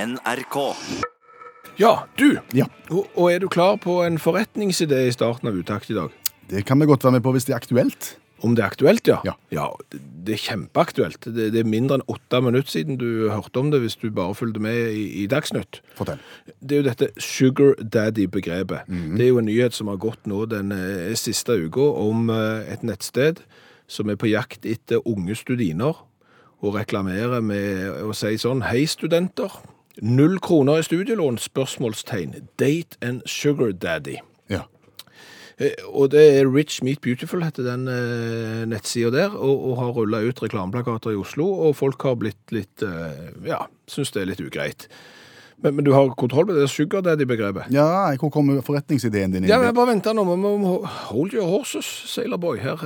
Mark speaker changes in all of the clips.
Speaker 1: NRK.
Speaker 2: Ja, du.
Speaker 3: Ja.
Speaker 2: Og, og er du klar på en forretningsidé i starten av utakt i dag?
Speaker 3: Det kan vi godt være med på hvis det er aktuelt.
Speaker 2: Om det er aktuelt, ja?
Speaker 3: Ja.
Speaker 2: det, det er kjempeaktuelt. Det, det er mindre enn åtte minutter siden du hørte om det, hvis du bare fulgte med i, i Dagsnytt.
Speaker 3: Fortell.
Speaker 2: Det er jo dette sugar daddy-begrepet. Det er jo en nyhet som har gått nå den eh, siste uka, om eh, et nettsted som er på jakt etter unge studiner, og reklamerer med å si sånn Hei, studenter. Null kroner i studielån? Spørsmålstegn. Date and sugar daddy.
Speaker 3: Ja.
Speaker 2: Eh, Og det er Rich Meet Beautiful, heter den eh, nettsida der, og, og har rulla ut reklameplakater i Oslo, og folk har blitt litt eh, Ja, syns det er litt ugreit. Men, men du har kontroll på det sugar daddy-begrepet?
Speaker 3: ja, hvor kommer forretningsideen din inn?
Speaker 2: Ja, men bare vent her nå. Vi må vi må- Hold your horses, Sailor Boy. Her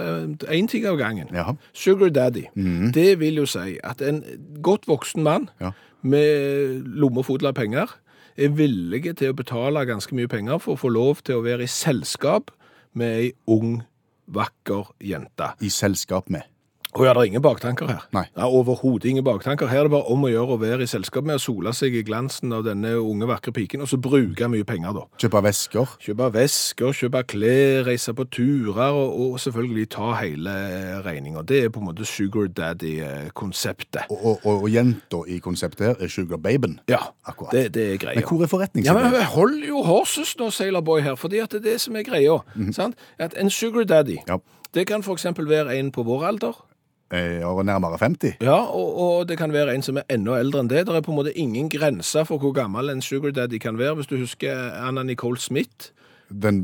Speaker 2: én ting av gangen.
Speaker 3: Ja. Mm.
Speaker 2: Sugar daddy. Det vil jo si at en godt voksen mann
Speaker 3: Ja.
Speaker 2: med lomme full av penger er villig til å betale ganske mye penger for å få lov til å være i selskap med ei ung, vakker jente.
Speaker 3: I selskap med.
Speaker 2: Og ja, det er ingen baktanker her.
Speaker 3: Nei.
Speaker 2: Ja, Overhodet ingen baktanker. Her er det bare om å gjøre å være i selskap med å sole seg i glansen av denne unge, vakre piken, og så bruke mye penger, da.
Speaker 3: Kjøpe vesker.
Speaker 2: Kjøpe vesker, kjøpe klær, reise på turer og, og selvfølgelig ta hele regninga. Det er på en måte sugar eh, daddy-konseptet.
Speaker 3: Og, og, og, og jenta i konseptet her er Sugar Baben.
Speaker 2: Ja,
Speaker 3: Akkurat.
Speaker 2: det, det er
Speaker 3: Men
Speaker 2: greia.
Speaker 3: hvor er
Speaker 2: Ja,
Speaker 3: forretningsideen?
Speaker 2: men Hold jo horses nå, Sailorboy, her, fordi at det er det som er greia.
Speaker 3: Mhm.
Speaker 2: sant? At En sugar daddy
Speaker 3: Ja.
Speaker 2: det kan f.eks. være en på vår alder.
Speaker 3: Jeg er eh, nærmere 50.
Speaker 2: Ja, og, og det kan være en som er enda eldre enn det. Det er på en måte ingen grenser for hvor gammel en sugar daddy kan være. Hvis du husker Anna Nicole Smith.
Speaker 3: Den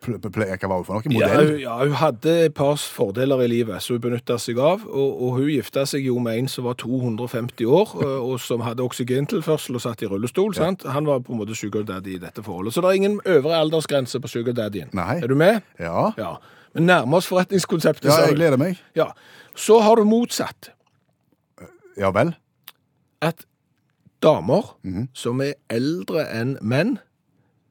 Speaker 3: pl pl pleier ikke å være for noen
Speaker 2: Ja,
Speaker 3: modell.
Speaker 2: hun, ja, hun hadde et par fordeler i livet som hun benytta seg av. Og, og hun gifta seg jo med en som var 250 år, og- og som hadde oksygentilførsel og satt i rullestol. sant? Han var på en måte sugar daddy i dette forholdet. Så det er ingen øvre aldersgrense på sugar daddyen.
Speaker 3: Nei.
Speaker 2: Er du med?
Speaker 3: Ja. ja.
Speaker 2: Ja. Men nærmer oss forretningskonseptet. sa du.
Speaker 3: jeg gleder meg.
Speaker 2: Ja. Så har du motsatt.
Speaker 3: Ja vel.
Speaker 2: At damer
Speaker 3: Mhm.
Speaker 2: som er eldre enn menn,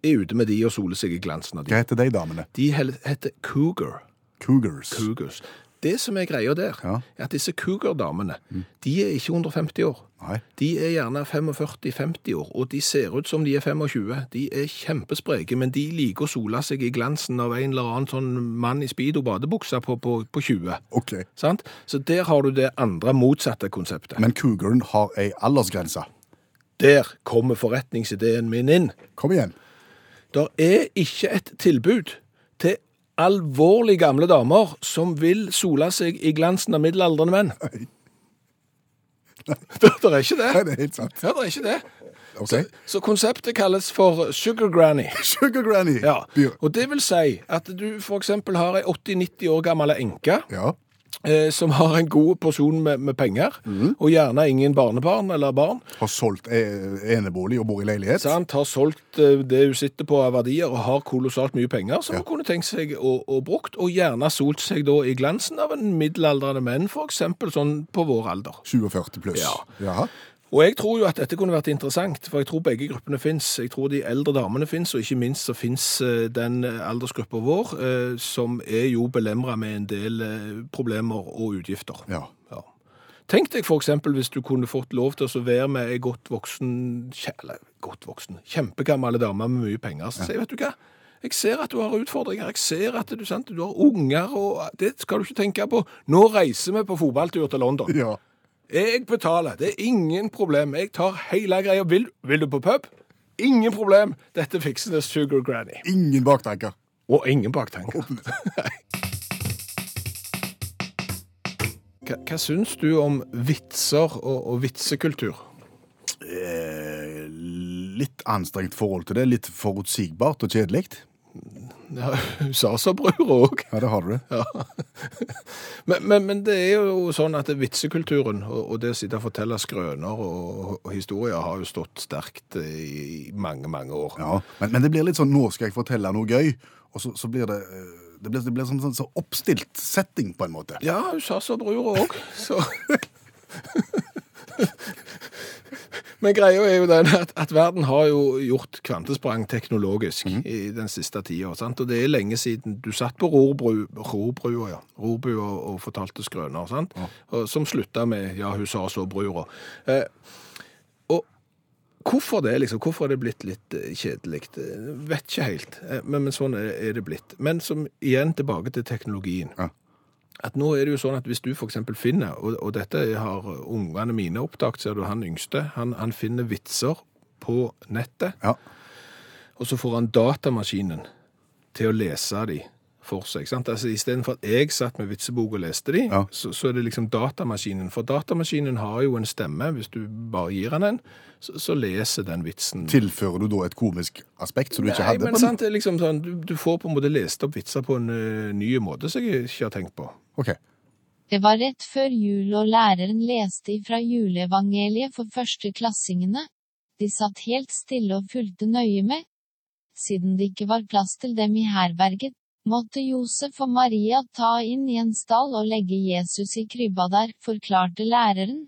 Speaker 2: er ute med de og soler seg i glansen av de.
Speaker 3: Hva heter de damene?
Speaker 2: De hel- heter cougar.
Speaker 3: Cougars.
Speaker 2: cougars. Det som er greia der,
Speaker 3: Ja.
Speaker 2: er at disse cougar-damene,
Speaker 3: Mm.
Speaker 2: de er ikke 150 år.
Speaker 3: Nei.
Speaker 2: De er gjerne 45-50 år, og de ser ut som de er 25. De er kjempespreke, men de liker å sole seg i glansen av en eller annen sånn mann i speedo badebuksa på, på, på 20.
Speaker 3: Ok.
Speaker 2: Sant? Så der har du det andre motsatte konseptet.
Speaker 3: Men cougaren har ei aldersgrense.
Speaker 2: der kommer forretningsideen min inn.
Speaker 3: Kom igjen.
Speaker 2: Der er ikke et tilbud til alvorlig gamle damer som vil sole seg i glansen av middelaldrende menn.
Speaker 3: Nei.
Speaker 2: Det er ikke det.
Speaker 3: Nei, det er helt sant.
Speaker 2: Ja, det er ikke det.
Speaker 3: Ok.
Speaker 2: Så konseptet kalles for sugar granny.
Speaker 3: Sugar Granny.
Speaker 2: Ja,
Speaker 3: Byr.
Speaker 2: og det vil si at du for eksempel har en 80-90 år gammel enke
Speaker 3: Ja.
Speaker 2: eh, som har en god porsjon med, med penger, og gjerne ingen barnebarn eller barn,
Speaker 3: Har solgt eh, enebolig og bor i leilighet.
Speaker 2: sant? har solgt eh, det hun sitter på av verdier og har kolossalt mye penger som hun kunne tenkt seg å, å brukt, og gjerne solt seg da i glansen av en middelaldrende menn, for eksempel sånn på vår alder.
Speaker 3: 47 pluss.
Speaker 2: Ja.
Speaker 3: Jaha.
Speaker 2: Og jeg tror jo at dette kunne vært interessant, for jeg tror begge gruppene fins. Jeg tror de eldre damene fins, og ikke minst så fins den aldersgruppa vår, eh, som er jo belemra med en del eh, problemer og utgifter.
Speaker 3: Ja.
Speaker 2: Ja. Tenk deg for eksempel hvis du kunne fått lov til å være med ei godt voksen, kje- eller godt voksen, kjempegammel dame med mye penger, så sier jeg, vet du hva, jeg ser at du har utfordringer, jeg ser at du, sant, du har unger, og det skal du ikke tenke på. Nå reiser vi på fotballtur til London.
Speaker 3: ja.
Speaker 2: Jeg betaler, det er ingen problem. Jeg tar hele greia. Vil, vil du på pub? Ingen problem. Dette fikser det Sugar Granny.
Speaker 3: Ingen baktanker.
Speaker 2: Og ingen baktanker. Hva, hva syns du om vitser og, og vitsekultur?
Speaker 3: Eh, litt anstrengt forhold til det. Litt forutsigbart og kjedelig.
Speaker 2: Ja, Hun sa så brura òg.
Speaker 3: Ja, det har du det.
Speaker 2: Ja. Men, men, men det er jo sånn at vitsekulturen og, og det å sitte og fortelle skrøner og, og historier har jo stått sterkt i mange, mange år.
Speaker 3: Ja. Men, men det blir litt sånn 'nå skal jeg fortelle noe gøy', og så, så blir det eh, det blir, det blir sånn, sånn, så oppstilt setting, på en måte.
Speaker 2: Ja, hun sa så brura òg, så Men greia er jo den at, at verden har jo gjort kvantesprang teknologisk i den siste tida. sant? Og det er lenge siden du satt på rorbru- rorbrua ja. Rorbua og, og fortalte skrøner, sant? Og, som slutta med 'ja, hun sa så brura'. Eh, og hvor Hvorfor det, liksom? Hvorfor er det blitt litt eh, kjedelig? Eh, Vet ikke helt, Eh, men, men sånn er, er det blitt. Men som, igjen tilbake til teknologien.
Speaker 3: Ja.
Speaker 2: At nå er det jo sånn at hvis du for eksempel finner, og, og dette har ungene mine opptakt, ser du han yngste, han, han finner vitser på nettet,
Speaker 3: Ja.
Speaker 2: og så får han datamaskinen til å lese de for seg. Sant? Altså, I stedet for at jeg satt med vitsebok og leste de,
Speaker 3: Ja.
Speaker 2: så, så er det liksom datamaskinen. For datamaskinen har jo en stemme, hvis du bare gir han en, så, så leser den vitsen.
Speaker 3: Tilfører du da et komisk aspekt som du ikke
Speaker 2: Nei,
Speaker 3: hadde?
Speaker 2: men
Speaker 3: på den?
Speaker 2: sant, det er liksom sånn, du, du får på en måte lest opp vitser på en ø, ny måte som jeg ikke har tenkt på.
Speaker 3: Ok.
Speaker 1: Det var rett før jul og læreren leste ifra juleevangeliet for førsteklassingene. De satt helt stille og fulgte nøye med. Siden det ikke var plass til dem i herberget, måtte Josef og Maria ta inn i en stall og legge Jesus i krybba der, forklarte læreren.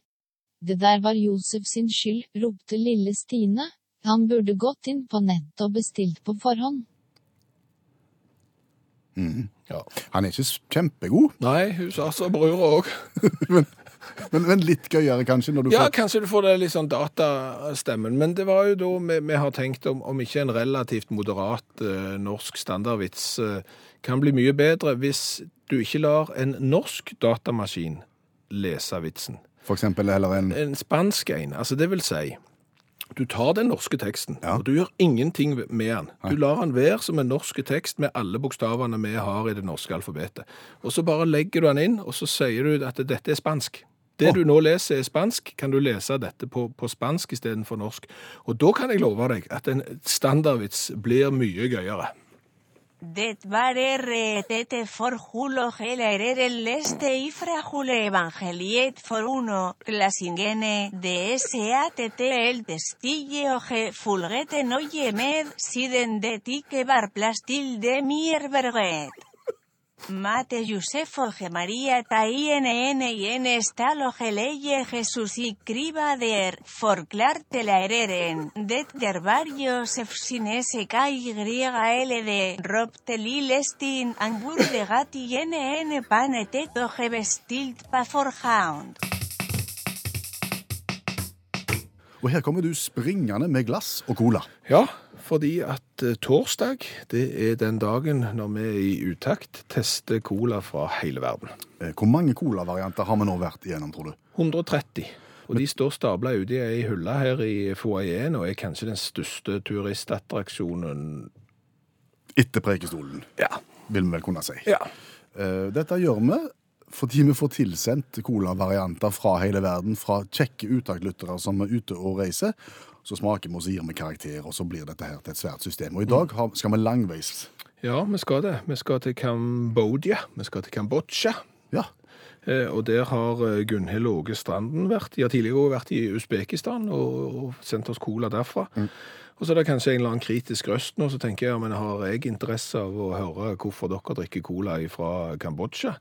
Speaker 1: Det der var Josef sin skyld, ropte lille Stine. Han burde gått inn på nettet og bestilt på forhånd.
Speaker 2: Ja.
Speaker 3: Han er ikke s- kjempegod,
Speaker 2: Nei, hun sa så brura òg.
Speaker 3: men, men litt gøyere kanskje når du
Speaker 2: Ja,
Speaker 3: får
Speaker 2: kanskje du får det litt sånn datastemmen, men det var jo da vi, vi har tenkt om, om ikke en relativt moderat eh, norsk standardvits eh, kan bli mye bedre hvis du ikke lar en norsk datamaskin lese vitsen.
Speaker 3: for eksempel heller en
Speaker 2: En spansk en, altså det vil si du tar den norske teksten,
Speaker 3: Ja.
Speaker 2: og du gjør ingenting med den. Du lar den være som en norske tekst med alle bokstavene vi har i det norske alfabetet. Og så bare legger du den inn, og så sier du at dette er spansk. Det du nå leser er spansk, kan du lese dette på, på spansk istedenfor norsk. Og da kan jeg love deg at en standardvits blir mye gøyere.
Speaker 4: Det var RTT for Hulo Heller el Este y fra Jule Evangeliet for uno, Clasingene, de SATT el Testille Oje Fulgeten Oyemed, Siden de Tique Bar Plastil de Mierberget. Mate Yusef Olge María Taien y en Estal Ogeleye Jesús y Criba der Forclarte la Ereren Det der Varios Sin SKYLD Rob Telil Estin Angur de Gati NN Panetet Oge Bestilt Pa Forhound
Speaker 3: Og her kommer du springende med glass og cola.
Speaker 2: Ja, fordi at eh, torsdag, det er den dagen når vi i utakt tester cola fra hele verden.
Speaker 3: Eh, Hvor mange colavarianter har vi nå vært igjennom, tror du?
Speaker 2: 130. Og de står stabla ute i ei hylle her i foajeen og er kanskje den største turistattraksjonen
Speaker 3: Etter Preikestolen,
Speaker 2: Ja.
Speaker 3: vil vi vel kunne si.
Speaker 2: ja.
Speaker 3: Eh, Dette gjør vi fordi vi får tilsendt colavarianter fra hele verden, fra kjekke uttaktlyttere som er ute og reiser. Så smaker vi, og så gir vi karakter, og så blir dette her til et svært system. Og i dag har, skal vi langveis.
Speaker 2: Ja, vi skal det. Vi skal til Kambodia. Vi skal til Kambodsja.
Speaker 3: Ja,
Speaker 2: Eh, Og der har eh, Gunhild Åge Stranden vært. De har tidligere også vært i Usbekistan og, og sendt oss cola derfra. Og så er det kanskje en eller annen kritisk røst nå, så tenker jeg, ja, men har jeg interesse av å høre hvorfor dere drikker cola fra Kambodsja?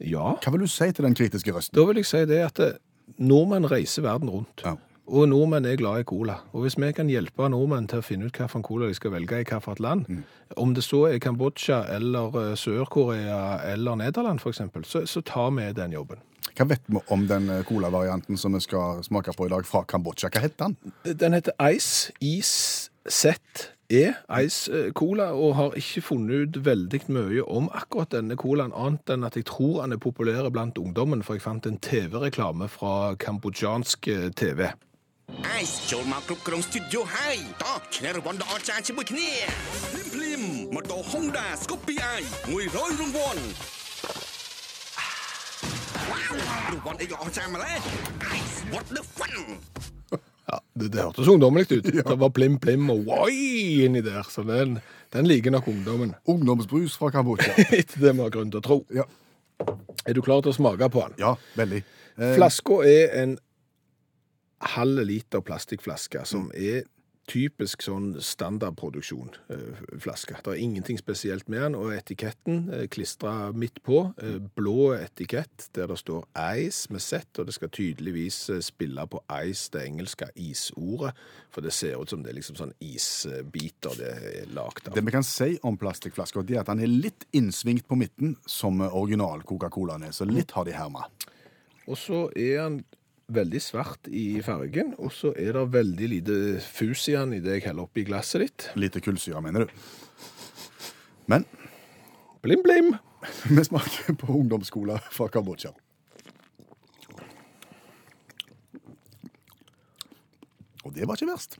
Speaker 2: Ja.
Speaker 3: Hva vil du si til den kritiske røsten?
Speaker 2: Da vil jeg si det at eh, nordmenn reiser verden rundt.
Speaker 3: Ja.
Speaker 2: Og nordmenn er glad i cola. Og hvis vi kan hjelpe nordmenn til å finne ut hvilken cola de skal velge i hvilket land, om det så er Kambodsja eller eh, Sør-Korea eller Nederland f.eks., så, så tar vi den jobben.
Speaker 3: Hva vet vi om den eh, colavarianten som vi skal smake på i dag fra Kambodsja? Hva heter den?
Speaker 2: Den heter Ice. IZE. Ice eh, Cola. Og har ikke funnet ut veldig mye om akkurat denne colaen, annet enn at jeg tror han er populær blant ungdommen, for jeg fant en TV-reklame fra kambodsjansk eh, TV.
Speaker 5: អាយចូលមកគ្រប់គ្រងស្ទូឌីយោហើយតោះឆ្នៃរង្វាន់ដ៏អស្ចារ្យជាមួយគ្នាភ្លាមៗម៉ូតូ Honda Scorpio i 100រង្វាន់វ៉ាវរង្វាន់អីក៏អស្ចារ្យម្ល៉េះ Ice what the fun
Speaker 2: Ja, Det, det hørtes ungdommelig ut. Det var plim, plim og woi inni der. Så den, den liker nok ungdommen.
Speaker 3: Ungdomsbrus fra Kambodsja.
Speaker 2: Etter det vi har grunn til å tro.
Speaker 3: Ja.
Speaker 2: Er du klar til å smake på den?
Speaker 3: Ja, veldig. Eh,
Speaker 2: Flaska er en halv liter plastikkflaske, som er typisk sånn standardproduksjon. eh, Flaske. Det er ingenting spesielt med den, og etiketten klistra midt på. eh, Blå etikett der det står Ice med Z, og det skal tydeligvis eh, spille på Ice, det engelske isordet. For det ser ut som det er liksom sånn isbiter det er lagd av.
Speaker 3: Det vi kan si om plastikkflasker, det er at den er litt innsvingt på midten, som original Coca-Colaen er. Så litt har de herma.
Speaker 2: Og så er han veldig svart i fargen, og så er det veldig lite fus i den i det jeg heller oppi glasset ditt.
Speaker 3: Lite kullsyre, mener du. Men
Speaker 2: Blim, blim!
Speaker 3: vi smaker på ungdomscola fra Kambodsja. Og det var ikke verst.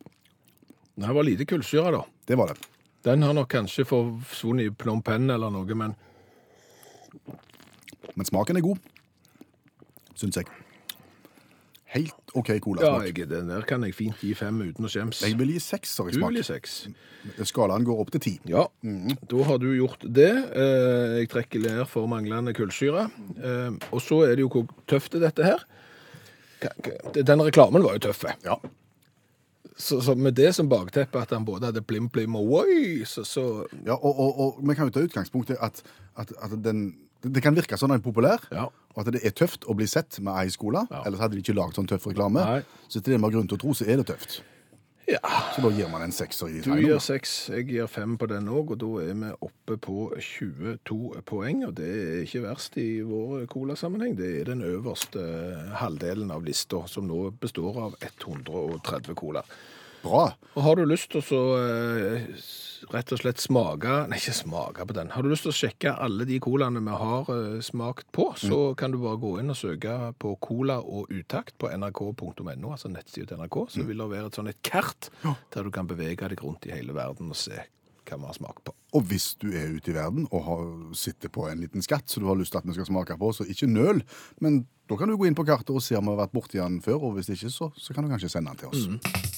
Speaker 2: Det var lite kullsyre, da.
Speaker 3: Det var det.
Speaker 2: Den har nok kanskje forsvunnet i Phnom Penh eller noe, men
Speaker 3: Men smaken er god, syns jeg. Helt OK
Speaker 2: ja,
Speaker 3: colasmak.
Speaker 2: jeg, den der kan jeg fint gi fem uten å skjems.
Speaker 3: Jeg vil gi sekser i
Speaker 2: Du vil
Speaker 3: smak.
Speaker 2: gi seks.
Speaker 3: Skalaen går opp til ti.
Speaker 2: Ja, da har du gjort det. Eh, Jeg trekker lær for manglende kullsyre. Eh, Og så er det jo hvor tøft er dette her. Ka- ka- Den reklamen var jo tøff. eh.
Speaker 3: Ja.
Speaker 2: Så, så med det som bakteppe at han både hadde plim, plim og oi, så, så
Speaker 3: ja og, og, og vi kan jo ta utgangspunkt i at, at, at den det kan virke sånn at den er populær,
Speaker 2: Ja.
Speaker 3: og at det er tøft å bli sett med ei skole.
Speaker 2: Ja.
Speaker 3: Ellers hadde de ikke lagd sånn tøff reklame.
Speaker 2: Nei.
Speaker 3: Så til det vi har grunn til å tro, så er det tøft.
Speaker 2: Ja.
Speaker 3: Så da gir man en sekser i de
Speaker 2: Du
Speaker 3: tegnene.
Speaker 2: gir seks, jeg gir fem på den òg, og da er vi oppe på 22 poeng. Og det er ikke verst i vår colasammenheng. Det er den øverste halvdelen av lista, som nå består av 130 cola.
Speaker 3: Bra.
Speaker 2: Og har du lyst til å så, eh, s- rett og slett smake Nei, ikke smake på den. Har du lyst til å sjekke alle de colaene vi har eh, smakt på, så kan du bare gå inn og søke på Cola og utakt på nrk.no, altså nettsiden til NRK. Så vil det være et sånn et kart der du kan bevege deg rundt i hele verden og se hva vi har smakt på.
Speaker 3: Og hvis du er ute i verden og har, sitter på en liten skatt som du har lyst til at vi skal smake på, så ikke nøl. Men da kan du gå inn på kartet og se om vi har vært borti den før, og hvis ikke, så, så kan du kanskje sende den til oss.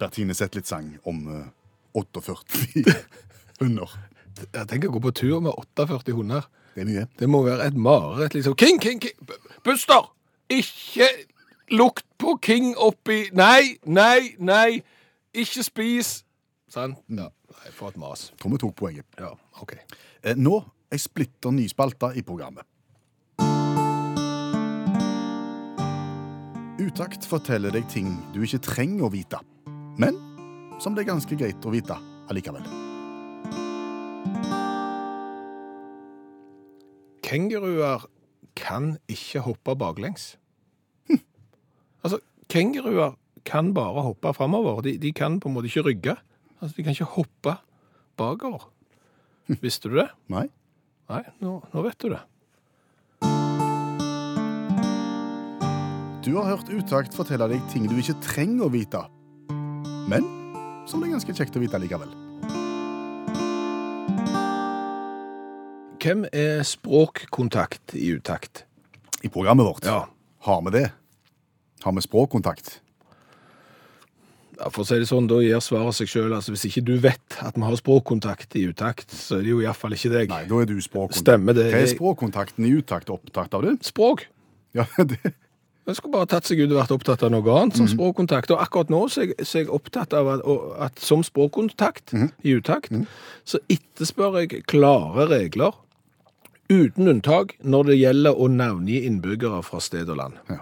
Speaker 3: Bertine setter litt sang om eh, 48 hunder.
Speaker 2: Jeg tenker å gå på tur med 48 hunder.
Speaker 3: Det er mye.
Speaker 2: Det må være et mareritt. Liksom. King, King, King! B- Buster! Ikke lukt på King oppi Nei, nei, nei! Ikke spis! Sant? Ja. Nei, for et mas.
Speaker 3: Tror vi tok poenget.
Speaker 2: Ja, OK.
Speaker 3: Eh, Nå er splitter ny spalte i programmet. Utakt forteller deg ting du ikke trenger å vite, men som det er ganske greit å vite allikevel.
Speaker 2: Kenguruer kan ikke hoppe baklengs. Altså, kenguruer kan bare hoppe framover. De, de kan på en måte ikke rygge. Altså, de kan ikke hoppe bakover. Visste du det?
Speaker 3: Nei?
Speaker 2: Nei, nå, nå vet du det.
Speaker 3: Du har hørt Utakt fortelle deg ting du ikke trenger å vite, men som det er ganske kjekt å vite allikevel.
Speaker 2: Hvem er språkkontakt i utakt?
Speaker 3: I programmet vårt
Speaker 2: Ja.
Speaker 3: har vi det. Har vi språkkontakt?
Speaker 2: Ja, for å si det sånn, Da gir svaret seg sjøl. Altså, hvis ikke du vet at vi har språkkontakt i utakt, så er det jo iallfall ikke deg.
Speaker 3: Nei, da er du språkkontakt.
Speaker 2: Stemmer det.
Speaker 3: Hva er språkkontakten i Utakt opptatt av, du?
Speaker 2: Språk.
Speaker 3: Ja, det...
Speaker 2: Jeg skulle bare tatt seg ut og vært opptatt av noe annet som språkkontakt. Og akkurat nå så er jeg, så er jeg opptatt av at, og, at som språkkontakt i utakt, så etterspør jeg klare regler uten unntak når det gjelder å navngi innbyggere fra sted og land.
Speaker 3: Ja.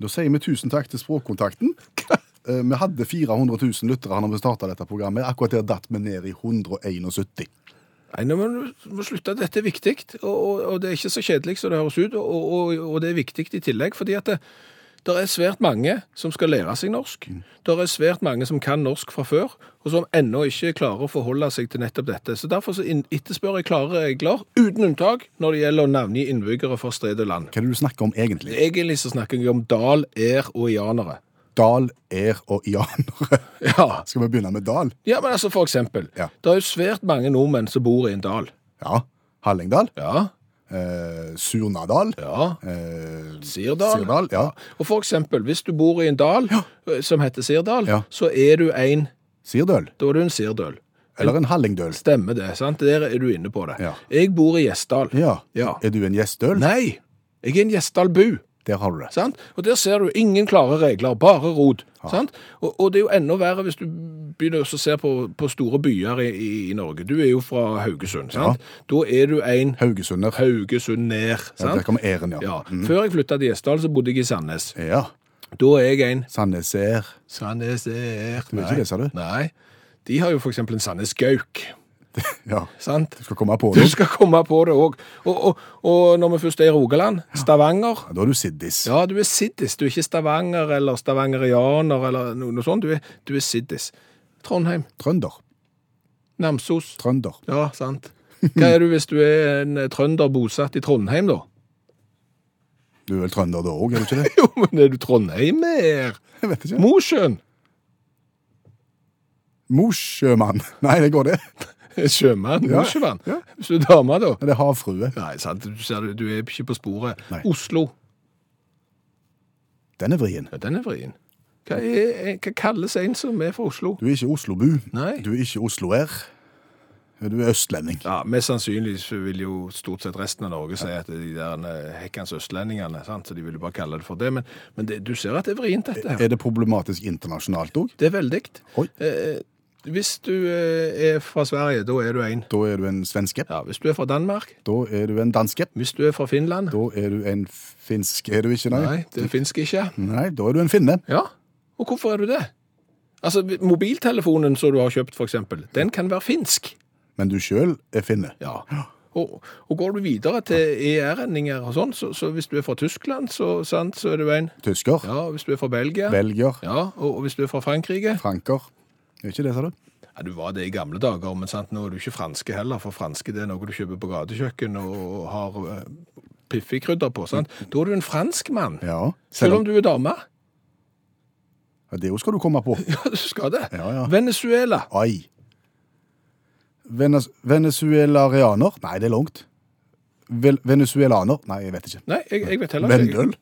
Speaker 3: Da sier vi tusen takk til Språkkontakten. Eh, Vi hadde 400 000 lyttere når vi starta dette programmet. Akkurat der datt vi ned i 171.
Speaker 2: Nei, nå må du må slutte. Dette er viktig, og, og, og det er ikke så kjedelig som det høres ut. Og, og, og det er viktig i tillegg, fordi at det, der er svært mange som skal lære seg norsk. Der er svært mange som kan norsk fra før, og som ennå ikke klarer å forholde seg til nettopp dette. Så derfor så inn- etterspør jeg klare regler, uten unntak, når det gjelder å navngi innbyggere fra sted og land.
Speaker 3: Hva er det du snakker om egentlig?
Speaker 2: Egentlig så snakker jeg om dal, er og ianere.
Speaker 3: Dal, er og ianere.
Speaker 2: Ja.
Speaker 3: Skal vi begynne med dal?
Speaker 2: ja, men altså for eksempel,
Speaker 3: Ja.
Speaker 2: det er jo svært mange nordmenn som bor i en dal.
Speaker 3: Ja. Hallingdal.
Speaker 2: Ja,
Speaker 3: Eh, Surnadal.
Speaker 2: ja.
Speaker 3: Eh,
Speaker 2: Sirdal.
Speaker 3: Sirdal. Ja.
Speaker 2: Og for eksempel, hvis du bor i en dal eh, som heter Sirdal,
Speaker 3: Ja.
Speaker 2: så er du en,
Speaker 3: Sirdøl.
Speaker 2: da er du en sirdøl.
Speaker 3: Eller en hallingdøl.
Speaker 2: Stemmer det, sant? Der er du inne på det.
Speaker 3: Ja.
Speaker 2: Jeg bor i Gjesdal.
Speaker 3: Ja.
Speaker 2: Ja.
Speaker 3: Er du en gjestøl?
Speaker 2: Nei, jeg er en Gjesdalbu.
Speaker 3: Der har du det.
Speaker 2: Sant? Og der ser du ingen klare regler, bare rot. Sant? Og, og det er jo enda verre hvis du begynner å se på, på store byer i, i, i Norge. Du er jo fra Haugesund, sant? Da er du en
Speaker 3: Haugesunder.
Speaker 2: Haugesund nær,
Speaker 3: Ja, der
Speaker 2: sant?
Speaker 3: kommer æren, ja. Mm.
Speaker 2: Ja. Før jeg flyttet til Gjesdal, så bodde jeg i Sandnes.
Speaker 3: Ja.
Speaker 2: Da er jeg en
Speaker 3: Sandneser.
Speaker 2: Sandnes er
Speaker 3: Det var ikke det, sa du?
Speaker 2: Nei. De har jo for eksempel en Sandnes Gauk.
Speaker 3: Ja,
Speaker 2: Sant?
Speaker 3: du skal komme på
Speaker 2: Du
Speaker 3: det.
Speaker 2: skal komme på det òg. Og, og, og når vi først er i Rogaland, Stavanger
Speaker 3: Da er du siddis.
Speaker 2: Ja, du er siddis. Du er ikke stavanger eller stavangerianer eller noe, noe sånt. Du er, du er siddis. Trondheim.
Speaker 3: Trønder.
Speaker 2: Namsos.
Speaker 3: Trønder.
Speaker 2: Ja, sant. Hva er du hvis du er en trønder bosatt i Trondheim, da?
Speaker 3: Du er vel trønder da òg, er du ikke det?
Speaker 2: Jo, men er du trondheimer?
Speaker 3: Jeg vet ikke.
Speaker 2: Mosjøen.
Speaker 3: Mosjømann. Nei, det går det.
Speaker 2: Sjømann.
Speaker 3: Ja,
Speaker 2: Mosjøvann.
Speaker 3: ja.
Speaker 2: Hvis du er dame, da.
Speaker 3: Men det er havfrue.
Speaker 2: Nei, sant. Du, ser, du er ikke på sporet.
Speaker 3: Nei.
Speaker 2: Oslo.
Speaker 3: Den er vrien.
Speaker 2: Ja, den er vrien. Hva, er, eh, hva kalles en som er fra Oslo?
Speaker 3: Du er ikke Oslobu.
Speaker 2: Nei.
Speaker 3: Du er ikke Osloer. Du er østlending.
Speaker 2: Ja, Mest sannsynlig så vil jo stort sett resten av Norge si at de der eh, hekkans østlendingene, sant? så de vil jo bare kalle det for det. Men, men det, du ser at det er vrient, dette her.
Speaker 3: Er det problematisk internasjonalt òg?
Speaker 2: Det er veldig.
Speaker 3: Oi.
Speaker 2: Eh, hvis du eh, er fra Sverige, da er du en.
Speaker 3: Da er du en svenske.
Speaker 2: Ja, Hvis du er fra Danmark,
Speaker 3: Da er du en danske.
Speaker 2: hvis du er fra Finland
Speaker 3: Da er du en finsk. Er du ikke, nei?
Speaker 2: Nei, det finnes ikke.
Speaker 3: Nei, da er du en finne.
Speaker 2: Ja, og hvorfor er du det? Altså, mobiltelefonen som du har kjøpt, for eksempel, den kan være finsk.
Speaker 3: Men du sjøl er finne.
Speaker 2: Ja. Og, og går du videre til ER-endinger og sånn, så, så hvis du er fra Tyskland, så, sant, så er du en.
Speaker 3: Tysker.
Speaker 2: Ja, hvis du er fra Belgia.
Speaker 3: Belgier.
Speaker 2: Ja, og, og hvis du er fra Frankrike.
Speaker 3: Franker. Er ikke det, sa du?
Speaker 2: Ja, du var det i gamle dager, men sant, nå er du ikke franske heller, for franske det er noe du kjøper på gatekjøkken og har eh, piffikrydder på, sant? Da er du en fransk mann.
Speaker 3: Ja.
Speaker 2: Selv om du er dame.
Speaker 3: Ja, Det jo skal du komme på.
Speaker 2: Ja, du skal det.
Speaker 3: Ja, ja.
Speaker 2: Venezuela.
Speaker 3: Ai. Venez Venezuelarianer? Nei, det er langt. Vel venezuelaner? Nei, jeg vet ikke.
Speaker 2: Nei, jeg, jeg vet heller ikke.
Speaker 3: Vendøl?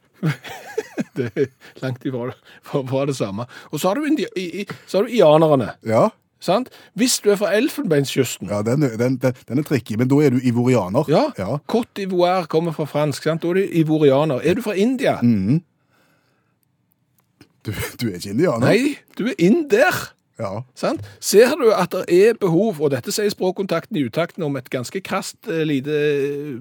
Speaker 2: Det er langt ifra det, fra- fra det samme. Og så har du, indi i, i, så har du ianerne.
Speaker 3: Ja.
Speaker 2: Sant? Hvis du er fra Elfenbeinskysten
Speaker 3: ja den, er- den, den, den er tricky, men da er du ivorianer.
Speaker 2: Ja.
Speaker 3: ja.
Speaker 2: Cote d'Ivoire kommer fra fransk, sant? da er du ivorianer. Er du fra India?
Speaker 3: Mm. Du, du er ikke indianer.
Speaker 2: Nei, du er inder.
Speaker 3: Ja.
Speaker 2: Sant? Ser du at det er behov, og dette sier språkkontakten i utakten om et ganske krast eh, lite eh,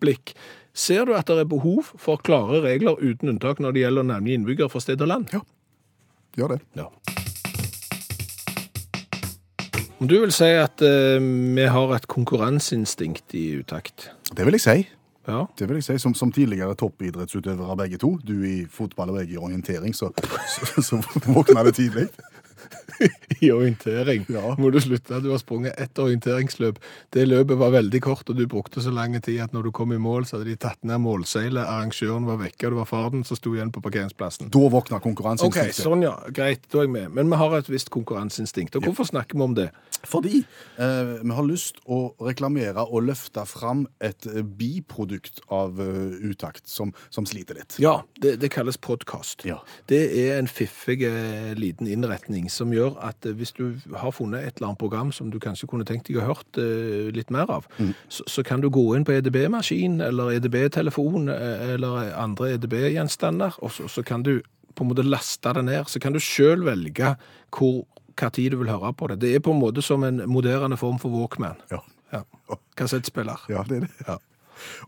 Speaker 2: blikk, ser du at det er behov for klare regler uten unntak når det gjelder å navngi innbyggere fra sted og land?
Speaker 3: Ja. Gjør det.
Speaker 2: Ja. Om du vil si at eh, vi har et konkurranseinstinkt i utakt?
Speaker 3: Det vil jeg si.
Speaker 2: Ja.
Speaker 3: Det vil jeg si. Som, som tidligere toppidrettsutøvere begge to, du i fotball og jeg i orientering, så, så, så våkna det tidlig.
Speaker 2: I orientering
Speaker 3: Ja.
Speaker 2: må du slutte. Du har sprunget ett orienteringsløp. Det løpet var veldig kort, og du brukte så lang tid at når du kom i mål, så hadde de tatt ned målseilet, arrangøren var vekke, og det var faren som sto igjen på parkeringsplassen.
Speaker 3: Da våkna
Speaker 2: Ok,
Speaker 3: konkurranseinstinktet.
Speaker 2: sånn ja, greit, da er jeg med. Men vi har et visst konkurranseinstinkt, og hvorfor snakker vi om det?
Speaker 3: Fordi eh, vi har lyst å reklamere og løfte fram et eh, biprodukt av eh, utakt som, som sliter litt.
Speaker 2: Ja, det, det kalles podkast.
Speaker 3: Ja.
Speaker 2: Det er en fiffig eh, liten innretning som gjør at eh, hvis du har funnet et eller annet program som du kanskje kunne tenkt deg å hørt eh, litt mer av, så, så kan du gå inn på EDB-maskin eller EDB-telefon eh, eller andre EDB-gjenstander, og så, så kan du på en måte laste det ned. Så kan du sjøl velge hvor, hva tid du vil høre på det. Det er på en måte som en moderne form for Walkman.
Speaker 3: Ja.
Speaker 2: Ja. Kassettspiller.
Speaker 3: Ja, det er det.
Speaker 2: Ja.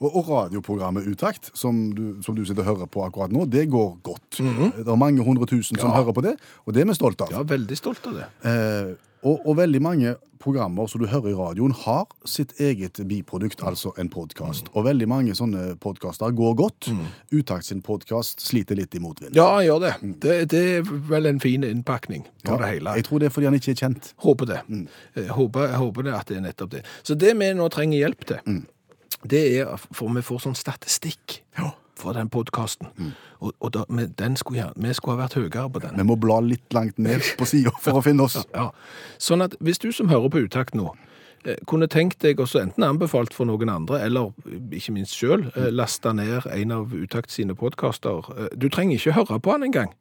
Speaker 3: Og, og radioprogrammet Utakt, som du, som du sitter og hører på akkurat nå, det går godt. Det er mange hundre tusen som hører på det, og det er vi stolte av.
Speaker 2: ja, veldig stolt av det.
Speaker 3: Eh, og, og veldig mange programmer som du hører i radioen, har sitt eget biprodukt, altså en podkast. Og veldig mange sånne podkaster går godt. Utakt sin podkast sliter litt i motvind.
Speaker 2: Ja, han gjør det. det. Det er vel en fin innpakning på det hele.
Speaker 3: Jeg tror det er fordi han ikke er kjent.
Speaker 2: Håper det. Eh, Håper, jeg håper det at det er nettopp det. Så det vi nå trenger hjelp til, det er For vi får sånn statistikk fra den podkasten. Og, og da, men den skulle, gjerne- vi skulle ha vært høyere på den.
Speaker 3: Vi må bla litt langt ned på sida for å finne oss.
Speaker 2: Ja. Sånn at hvis du som hører på Utakt nå, eh, kunne tenkt deg også enten anbefalt for noen andre, eller eh, ikke minst sjøl, lasta ned en av Utakt sine podkaster Du trenger ikke høre på han engang.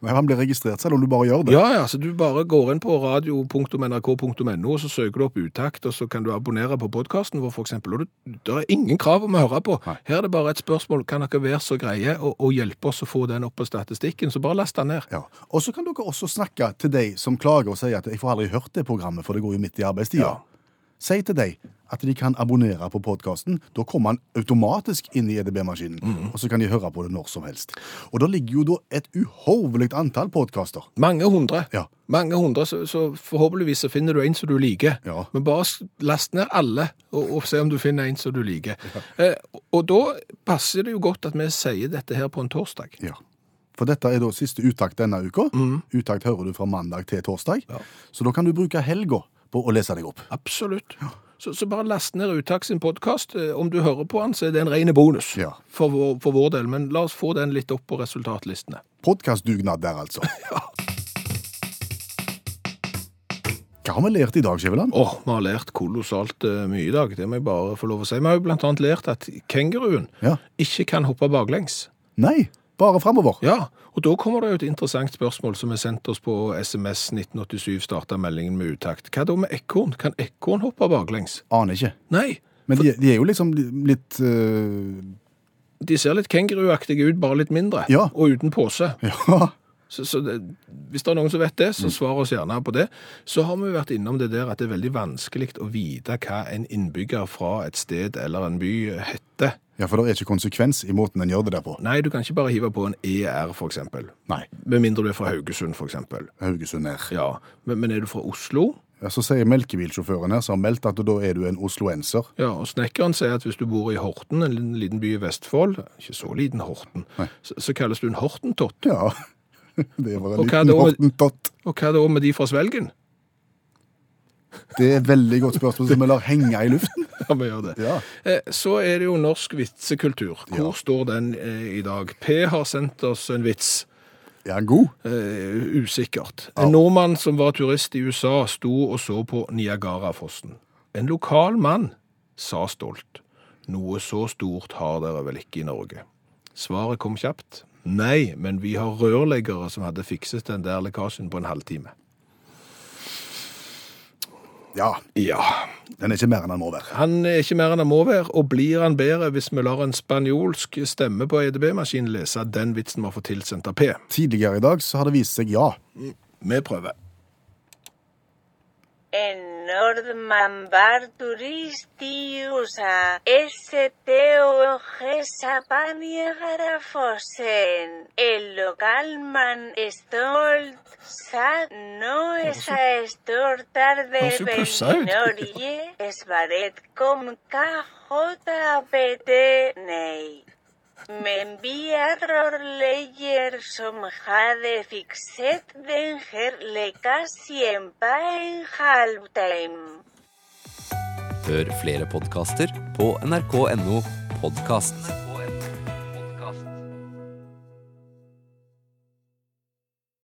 Speaker 3: Nei, Han blir registrert selv om du bare gjør det.
Speaker 2: Ja, ja, så du bare går inn på radio.nrk.no, og så søker du opp utakt, og så kan du abonnere på podkasten vår, for eksempel. Og du, det er ingen krav om å høre på. Her er det bare et spørsmål. Kan dere være så greie å, å hjelpe oss å få den opp på statistikken? Så bare last den ned.
Speaker 3: Ja. Og så kan dere også snakke til de som klager og sier at 'jeg får aldri hørt det programmet, for det går jo midt i arbeidstida'.
Speaker 2: Ja.
Speaker 3: Si til deg at de kan abonnere på podkasten. Da kommer han automatisk inn i EDB-maskinen,
Speaker 2: Mhm.
Speaker 3: og så kan de høre på det når som helst. Og det ligger jo da et uhorvelig antall podkaster.
Speaker 2: Mange hundre.
Speaker 3: Ja.
Speaker 2: Mange hundre, så, så forhåpentligvis så finner du en som du liker.
Speaker 3: Ja.
Speaker 2: Men bare s- last ned alle, og, og se om du finner en som du liker. Eh, og- og da passer det jo godt at vi sier dette her på en torsdag.
Speaker 3: Ja. For dette er da siste uttakt denne uka.
Speaker 2: Mhm.
Speaker 3: Uttakt hører du fra mandag til torsdag. Så da kan du bruke helga på å lese deg opp.
Speaker 2: Absolutt. Så, så bare last ned Utak sin podkast. Om du hører på den, så er det en ren bonus
Speaker 3: Ja.
Speaker 2: for, vår, for vår del. Men la oss få den litt opp på resultatlistene.
Speaker 3: Podkastdugnad der, altså. Hva har vi lært i dag, Skjæveland?
Speaker 2: Åh, vi har lært kolossalt eh, mye i dag. Det må jeg bare få lov å si. Vi har jo blant annet lært at kenguruen
Speaker 3: Ja.
Speaker 2: ikke kan hoppe baklengs.
Speaker 3: Nei, bare framover.
Speaker 2: Ja, og da kommer det jo et interessant spørsmål som er sendt oss på SMS 1987, starta meldingen med utakt. Hva da med ekorn? Kan ekorn hoppe baklengs?
Speaker 3: Aner ikke.
Speaker 2: Nei,
Speaker 3: Men de, de er jo liksom li- litt eh,
Speaker 2: de ser litt kenguruaktige ut, bare litt mindre.
Speaker 3: Ja.
Speaker 2: Og uten pose.
Speaker 3: Ja.
Speaker 2: Så, så det, hvis det er noen som vet det, så svar oss gjerne på det. Så har vi vært innom det der at det er veldig vanskelig å vite hva en innbygger fra et sted eller en by heter.
Speaker 3: ja, for det er ikke konsekvens i måten en gjør det der på.
Speaker 2: Nei, du kan ikke bare hive på en ER, for eksempel.
Speaker 3: Nei.
Speaker 2: Med mindre du er fra Haugesund, for eksempel.
Speaker 3: Haugesund her.
Speaker 2: Ja, men, men er du fra Oslo?
Speaker 3: Ja, så sier melkebilsjåføren her, som har meldt at da er du en osloenser.
Speaker 2: Ja, og snekkeren sier at hvis du bor i Horten, en liten- liten by i Vestfold, ikke så liten Horten, så, så kalles du en Hortentott.
Speaker 3: Ja. Det var en
Speaker 2: Og hva
Speaker 3: liten
Speaker 2: da med-
Speaker 3: hottentott.
Speaker 2: Og hva da med de fra Svelgen?
Speaker 3: Det er et veldig godt spørsmål som vi lar henge i luften.
Speaker 2: Ja, vi gjør det.
Speaker 3: Ja.
Speaker 2: Eh, Så er det jo norsk vitsekultur. Hvor står den eh, i dag? P har sendt oss en vits.
Speaker 3: Ja, god.
Speaker 2: Eh, usikkert. En nordmann som var turist i USA, sto og så på Niagarafossen. En lokal mann sa stolt. Noe så stort har dere vel ikke i Norge? Svaret kom kjapt. Nei, men vi har rørleggere som hadde fikset den der lekkasjen på en halvtime.
Speaker 3: Ja,
Speaker 2: Ja.
Speaker 3: den er ikke mer enn den må være.
Speaker 2: Han er ikke mer enn han må være, og blir han bedre hvis vi lar en spanjolsk stemme på EDB-maskinen lese den vitsen vi har fått tilsendt av P?
Speaker 3: Tidligere i dag så har det vist seg ja.
Speaker 2: Vi prøver.
Speaker 4: En Nordman Bar Turistiusa STOG Sapaniagarafosen El Localman Stolt Sa no esa estortar
Speaker 2: Vamos
Speaker 4: de
Speaker 2: a cruzar.
Speaker 4: Benorie Esbaret com KJPT Nei me envía Roleyer Somjade Fixet Denger Le Casi en Pain Halftime.
Speaker 6: Hør flere podkaster på nrk.no podkast.